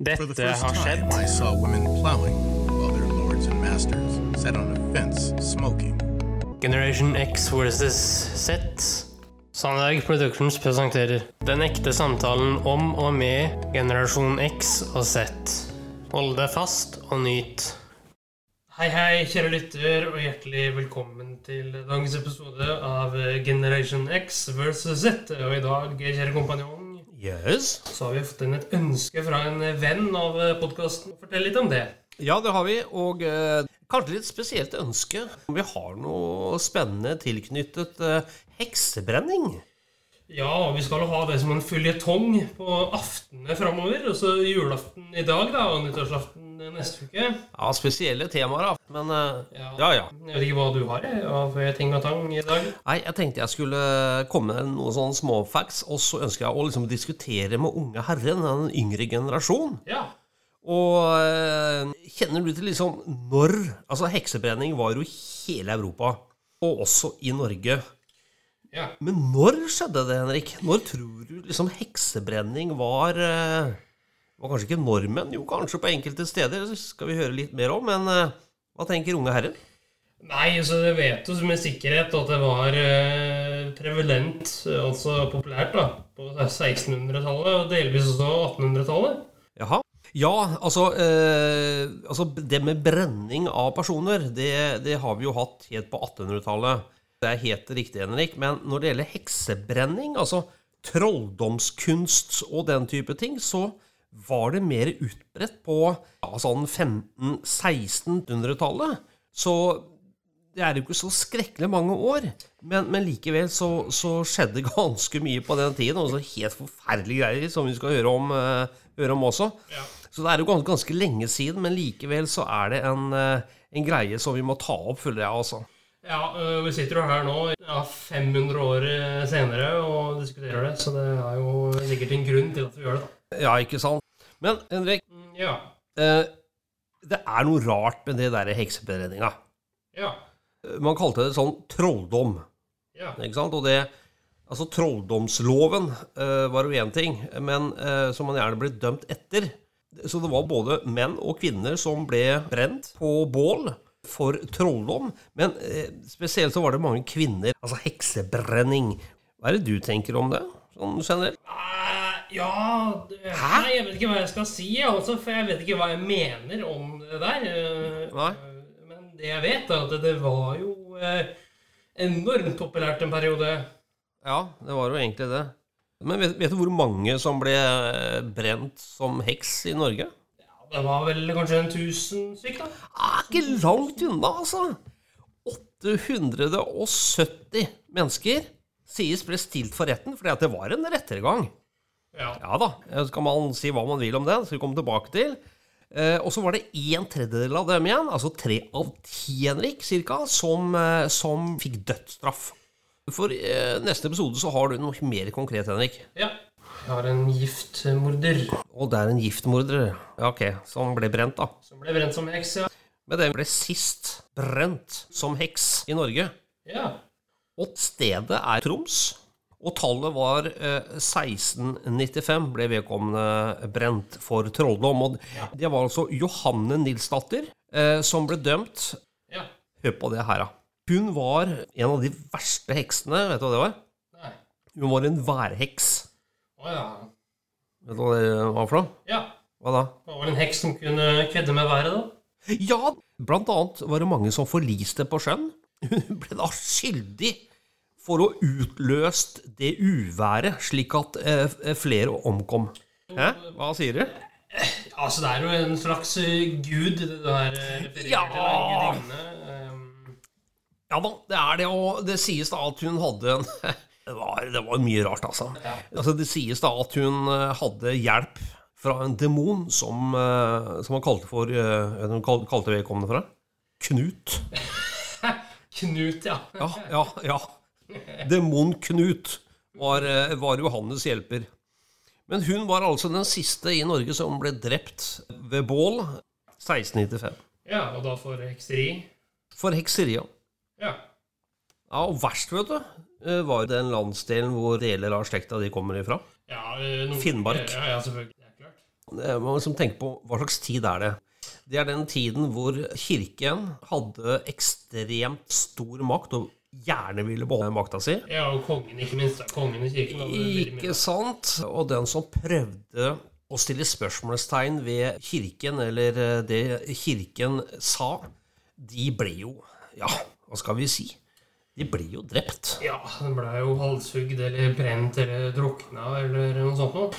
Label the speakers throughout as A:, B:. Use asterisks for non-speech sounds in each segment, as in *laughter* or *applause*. A: Dette
B: For the first
A: har
B: time,
A: skjedd.
B: I saw women plowing, while their lords and masters sat on a fence smoking.
A: Generation X vs. Z. Sandberg Productions presenterer Den ekte samtalen om og med generasjon X og Z. Hold deg fast og nyt. Hei, hei, kjære lytter, og hjertelig velkommen til dagens episode av Generation X vs. Z. Og i dag, kjære kompanjong,
C: Yes.
A: så har vi fått inn et ønske fra en venn av podkasten. Fortell litt om det.
C: Ja, det har vi. Og eh, kanskje litt spesielt ønske. Vi har noe spennende tilknyttet eh, heksebrenning.
A: Ja, og vi skal ha det som en føljetong på aftenene framover. Og så julaften i dag, da, og nyttårsaften neste uke.
C: Ja, spesielle temaer, da. Men eh,
A: Ja.
C: ja, ja.
A: Jeg vet ikke hva du har jeg, av ting og tang i dag.
C: Nei, jeg tenkte jeg skulle komme med noen sånne småfacts, og så ønsker jeg å liksom diskutere med unge herren, den yngre generasjon.
A: Ja.
C: Og eh, kjenner du til liksom når Altså, heksebrenning var jo i hele Europa, og også i Norge.
A: ja.
C: Men når skjedde det, Henrik? Når tror du liksom heksebrenning var eh, var kanskje ikke normen, jo kanskje på enkelte steder, det skal vi høre litt mer om, men eh, hva tenker unge herrer?
A: Nei, så jeg vet jo med sikkerhet at det var eh, prevalent, altså populært, da, på 1600-tallet og delvis også 1800-tallet.
C: Jaha. Ja, altså, eh, altså det med brenning av personer, det, det har vi jo hatt helt på 1800-tallet. Det er helt riktig, Henrik, men når det gjelder heksebrenning, altså trolldomskunst og den type ting, så var det mer utbredt på ja, sånn 1500-1600-tallet. Så det er jo ikke så skrekkelig mange år, men, men likevel så, så skjedde *laughs* ganske mye på den tiden. Og så helt forferdelige greier som vi skal høre om, eh, høre om også.
A: Ja.
C: Så det er jo ganske, ganske lenge siden, men likevel så er det en, eh, en greie som vi må ta opp, føler jeg, altså.
A: Ja, øh, vi sitter jo her nå, ja, 500 år eh, senere, og diskuterer det. Så det er jo sikkert en grunn til at vi gjør det, da.
C: Ja, ikke sant? Men Henrik,
A: Mm, Ja.
C: eh, det er noe rart med det derre hekseberedninga.
A: Ja.
C: Man kalte det sånn trolldom.
A: Ja.
C: Ikke sant? Og det, altså Trolldomsloven eh, var jo én ting, men eh, som man gjerne ble dømt etter. Så det var både menn og kvinner som ble brent på bål for trolldom. Men eh, spesielt så var det mange kvinner. Altså heksebrenning. Hva er det du tenker om det, sånn generelt?
A: Eh, ja det- Nei, jeg vet ikke hva jeg skal si, jeg, altså, for jeg vet ikke hva jeg mener om det der. eh,
C: Nei.
A: eh, Men det jeg vet, er at det var jo eh, enormt populært en periode.
C: Ja, det var jo egentlig det. Men vet, vet du hvor mange som ble eh, brent som heks i Norge?
A: Ja, det var vel kanskje en tusen stykk, da.
C: Ah, ikke langt unna, altså. 870 mennesker sies ble stilt for retten fordi at det var en rettergang.
A: Ja.
C: Ja da, eh, så kan man si hva man vil om det, så vi kommer tilbake til. Eh, og så var det en tredjedel av dem igjen, altså tre av ti, Henrik, cirka, som, eh, som fikk dødsstraff. For eh, neste episode så har du noe mer konkret, Henrik.
A: ja. Vi har en giftmorder
C: Og det er en giftmorder, ja, ok, som ble brent, da.
A: som ble brent som heks, ja.
C: Men den ble sist brent som heks i Norge.
A: ja.
C: Og stedet er Troms. Og tallet var eh, 1695 ble vedkommende brent for trolldom. Og det var altså Johanne Nilsdatter eh, som ble dømt.
A: Ja.
C: Hør på det her, da. Hun var en av de verste heksene. Vet du hva det var?
A: Nei.
C: Hun var en værheks.
A: Å ja.
C: Vet du hva det var for noe?
A: Ja.
C: Hva da?
A: Det var vel en heks som kunne kvedde med været, da.
C: Ja, blant annet var det mange som forliste på sjøen. Hun ble da skyldig for å ha utløst det uværet, slik at eh, flere omkom. Hæ? Hva sier du?
A: Altså, det er jo en slags eh, gud, det der eh, refererer til,
C: Ja.
A: da, en gudinne. ehm,
C: Ja da, det er det, og det sies da at hun hadde en *laughs* Det var, det var mye rart, altså. altså. Det sies da at hun eh, hadde hjelp fra en demon som, eh, som han kalte for eh, Hva kalte- kalte vedkommende for? det? Knut.
A: Knut, ja.
C: Ja, ja, ja. Demon Knut var, eh, var Johannes hjelper. Men hun var altså den siste i Norge som ble drept ved bål 1695.
A: Ja, og da for hekseri.
C: For hekseria.
A: Ja.
C: Ja, og verst, vet du, eh, var den landsdelen hvor deler av slekta de kommer ifra.
A: ja eh, noen-
C: Finnmark.
A: Ja, ja, selvfølgelig. Det er klart.
C: eh, man må liksom tenke på hva slags tid er det. Det er den tiden hvor kirken hadde ekstremt stor makt og gjerne ville beholde makta si.
A: Ja, og kongen, ikke minst. da. Kongen i kirken. var vel veldig mye.
C: Ikke sant? Og den som prøvde å stille spørsmålstegn ved kirken, eller eh, det kirken sa, de ble jo Ja, hva skal vi si? De ble jo drept.
A: Ja, den ble jo halshugd eller brent eller drukna eller noe sånt noe.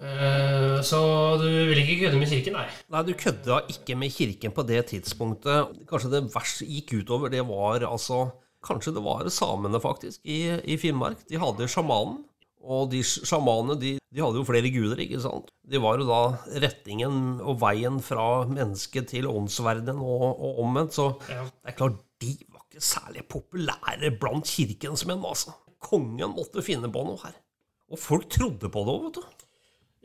A: Eh, Så du vil ikke kødde med kirken, nei.
C: Nei, du kødda ikke med kirken på det tidspunktet. Kanskje det verst gikk utover, det var altså Kanskje det var samene, faktisk, i, i Finnmark. De hadde sjamanen. Og de sj- sjamanene, de, de hadde jo flere guder, ikke sant? De var jo da retningen og veien fra mennesket til åndsverdenen og, og omvendt, så
A: Ja.
C: det er klart, de var ikke særlig populære blant kirkens menn, altså. Kongen måtte finne på noe her. Og folk trodde på det òg, vet du.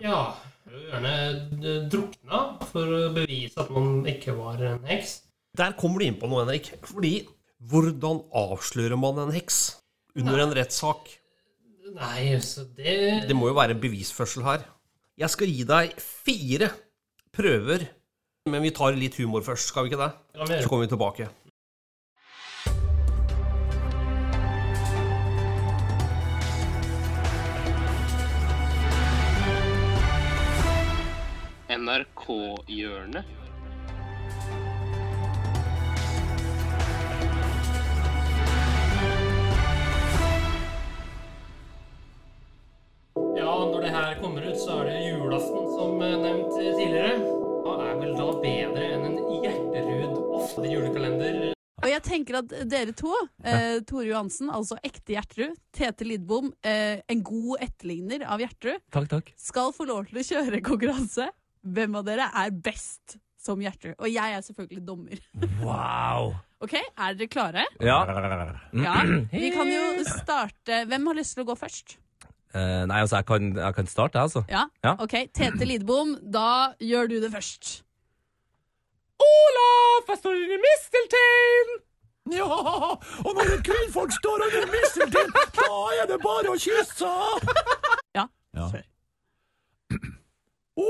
A: Ja, du er gjerne eh, drukna for å bevise at man ikke var en heks.
C: Der kommer du inn på noe, Henrik. Fordi hvordan avslører man en heks under en rettssak?
A: Nei, så det
C: Det må jo være en bevisførsel her. Jeg skal gi deg fire prøver, men vi tar litt humor først, skal vi ikke det?
A: kan vi
C: Så
A: gjøre.
C: kommer vi tilbake.
D: NRK-hjørnet.
A: Ja, når det her kommer ut, så er det julaften, som eh, nevnt tidligere. Hva er vel da bedre enn en Gjerterud ofte julekalender?
E: Og jeg tenker at dere to, eh, Tore Johansen, altså ekte Gjertrud, Tete Lidbom, eh, en god etterligner av Gjertrud,
F: Takk, takk.
E: skal få lov til å kjøre konkurranse. Hvem av dere er best som Gjertrud? Og jeg er selvfølgelig dommer.
F: Wow.
E: Ok, er dere klare?
F: Ja. Mm.
E: Ja.
F: *clears throat*
E: Vi kan jo starte Hvem har lyst til å gå først?
F: *laughs* Eh, nei, altså, jeg kan, jeg kan starte, jeg, altså.
E: Ja?
F: Ja.
E: Ok, Tete Lidbom, da gjør du det først.
F: Olaf, jeg står under misteltein! Ja, og når et kvinnfolk står under misteltein, da er det bare å kysse!
E: Ja.
F: *clears throat*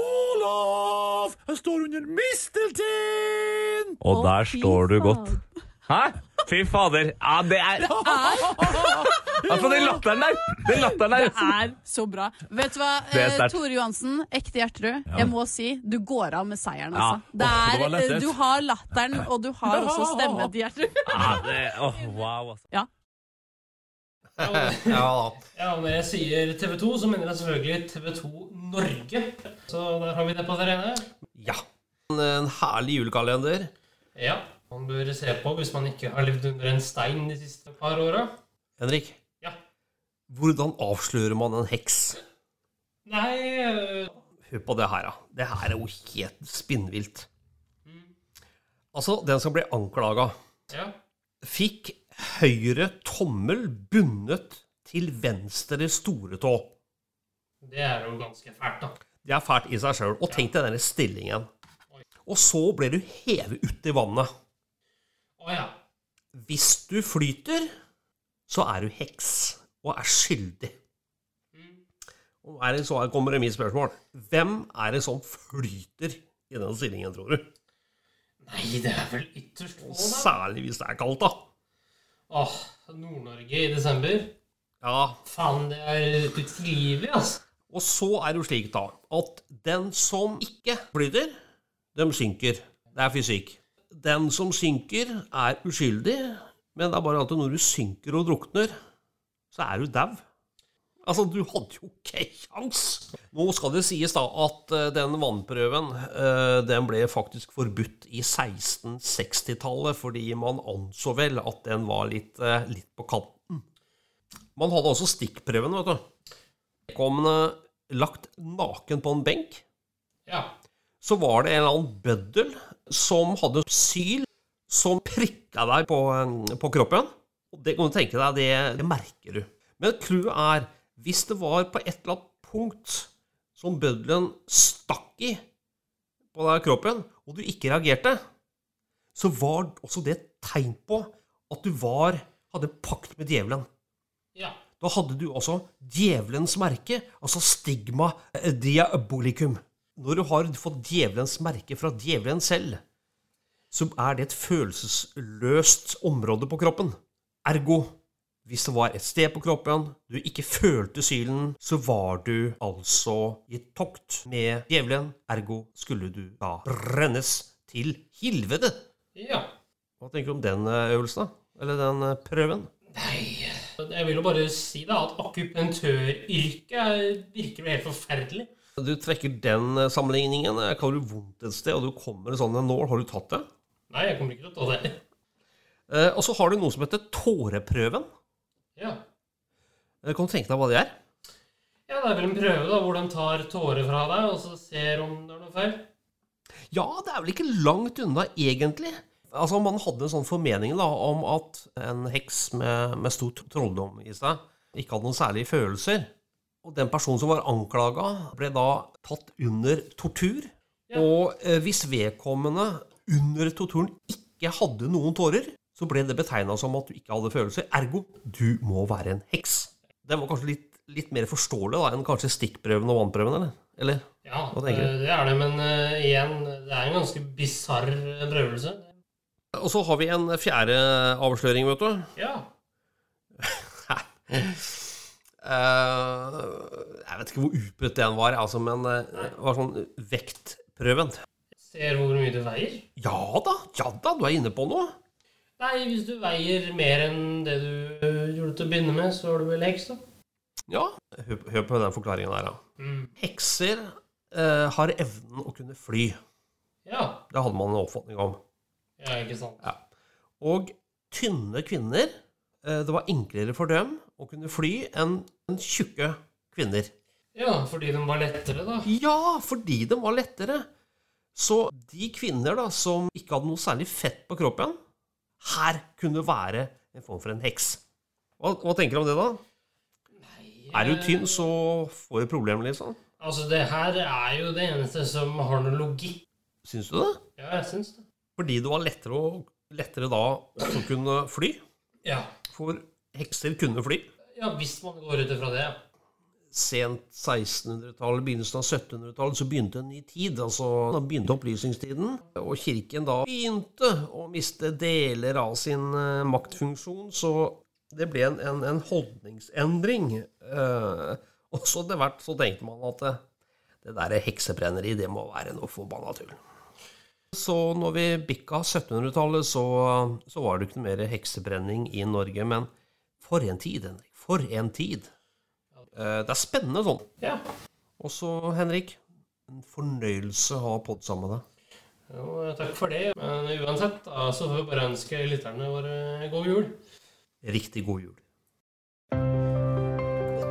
F: Olaf, jeg står under misteltein!
E: Å,
F: Og der
E: fy
F: står du godt.
E: faen.
F: Hæ? Fy fader. Ja, det er Altså, den latteren der! Den latteren der.
E: Det er så bra. Vet du hva,
F: Det er
E: eh,
F: sterkt.
E: Tore Johansen, ekte Gjertrud. Jeg må si du går av med seieren,
F: Ja.
E: altså. Det
F: Åh, det
E: er,
F: var lett,
E: eh,
F: det.
E: du har latteren, og du
F: *laughs*
E: har også stemmen til Gjertrud.
F: Ja, det, åh, wow, altså.
C: Ja da.
A: Ja, og når jeg sier TV 2, så mener jeg selvfølgelig TV 2 Norge. Så der har vi det på det rene.
C: Ja. En, en herlig julekalender.
A: Ja, man bør se på hvis man ikke har levd under en stein de siste par åra.
C: Henrik,
A: Ja.
C: hvordan avslører man en heks?
A: Nei øh,
C: Hør på det her, da. Det her er jo helt spinnvilt. Altså, den som ble anklaga
A: Ja.
C: fikk høyre tommel bundet til venstre store tå.
A: Det er jo ganske fælt, da.
C: Det er fælt i seg sjøl. Og tenk deg denne stillingen. Og så ble du hevet ut i vannet.
A: Å ja.
C: Hvis du flyter, så er du heks og er skyldig. Og er det, så her kommer det mitt spørsmål. Hvem er det som flyter i den stillingen, tror du?
A: Nei, det er vel ytterst få, da.
C: Særlig hvis det er kaldt, da.
A: Åh, Nord-Norge i desember.
C: Ja,
A: Faen, det er utilgivelig, altså.
C: Og så er det jo slik da at den som ikke flyter, dem synker. Det er fysikk. Den som synker, er uskyldig, men det er bare at når du synker og drukner, så er du dau. Altså, du hadde jo ikke kjangs! Nå skal det sies da at eh, den vannprøven eh, den ble faktisk forbudt i 1660-tallet, fordi man anså vel at den var litt, eh, litt på kanten. Man hadde også stikkprøven, vet du vedkommende lagt naken på en benk,
A: Ja.
C: så var det en eller annen bøddel som hadde syl som prikka deg på, um, på kroppen. Og det kan du tenke deg, det, det merker du. Men clouet er hvis det var på et eller annet punkt som bøddelen stakk i på deg kroppen, og du ikke reagerte, så var også det et tegn på at du var, hadde pakt med djevelen.
A: Ja.
C: altså Da hadde du også djevelens merke, altså stigma eh, diabolicum. Når du har fått djevelens merke fra djevelen selv, så er det et følelsesløst område på kroppen. Ergo, hvis det var et sted på kroppen du ikke følte sylen, så var du altså i et tokt med djevelen. Ergo skulle du da brennes til helvete.
A: Ja.
C: Hva tenker du om den eh, øvelsen, da? Eller den eh, prøven?
A: Nei øh, Jeg vil jo bare si da at akupunktøryrket virker jo helt forferdelig.
C: Du trekker den eh, sammenligningen. eh, Kan du vondt et sted, og du kommer sånn en nål? Har du tatt det?
A: Nei, jeg kommer ikke til å ta det.
C: Eh, Og så har du noe som heter tåreprøven.
A: Ja.
C: Eh, Kan du tenke deg hva det er?
A: ja, det er vel en prøve da, hvor de tar tårer fra deg, og så ser om det er noe feil.
C: Ja, det er vel ikke langt unna, egentlig. Altså, Man hadde en sånn formening da, om at en heks med, med stor trolldom i seg ikke hadde noen særlige følelser. Og den personen som var anklaga, ble da tatt under tortur. Og eh, hvis vedkommende under torturen ikke hadde noen tårer, så ble det betegna som at du ikke hadde følelser. Ergo, du må være en heks. Den var kanskje litt, litt mer forståelig da, enn kanskje stikkprøven og vannprøven, eller? eller?
A: Ja,
C: Hva
A: det
C: tenker du?
A: det er det, men eh, igjen, det er en ganske bisarr øh, prøvelse.
C: Og så har vi en fjerde avsløring, vet du.
A: Ja.
C: Eh, jeg vet ikke hvor utbredt den var, altså, men eh, det var sånn vektprøven.
A: Ser hvor mye du veier.
C: Ja da, ja da, du er inne på noe.
A: Nei, hvis du veier mer enn det du eh, gjorde til å begynne med, så er du vel heks, da.
C: Ja, hør, hør på den forklaringen der, da.
A: Mm.
C: Hekser eh, har evnen å kunne fly.
A: Ja.
C: Det hadde man en oppfatning om.
A: ja, ikke sant.
C: Og tynne kvinner, eh, det var enklere for dem å kunne fly enn enn tjukke kvinner.
A: Ja, fordi de var lettere, da.
C: Ja, fordi de var lettere. Så de kvinner da, som ikke hadde noe særlig fett på kroppen, her kunne være en form for en heks. Hva, hva tenker du om det, da? Er du tynn, så får du problemer, liksom.
A: Altså, det her er jo det eneste som har noe logikk.
C: Syns du det?
A: Ja, jeg syns det.
C: Fordi det var lettere, å, lettere da også kunne fly.
A: Ja.
C: For hekser kunne fly.
A: ja, hvis man går ut ifra det. ja.
C: Sent 1600-tallet, begynnelsen av 1700-tallet, så begynte en ny tid. altså Da begynte opplysningstiden, og kirken da begynte å miste deler av sin eh, maktfunksjon. Så det ble en, en, en holdningsendring. Eh, og så etter hvert så tenkte man at eh, det der heksebrenneri, det må være noe forbanna tull. Så når vi bikka 1700-tallet, så, så var det ikke noe mer heksebrenning i Norge. Men for en tid, Henrik. For en tid. Eh, Det er spennende sånn.
A: Ja.
C: Også, Henrik, en fornøyelse å ha podd sammen med deg.
A: Jo, takk for det. Men uansett, da, så får vi bare ønske lytterne våre god jul.
C: Riktig god jul.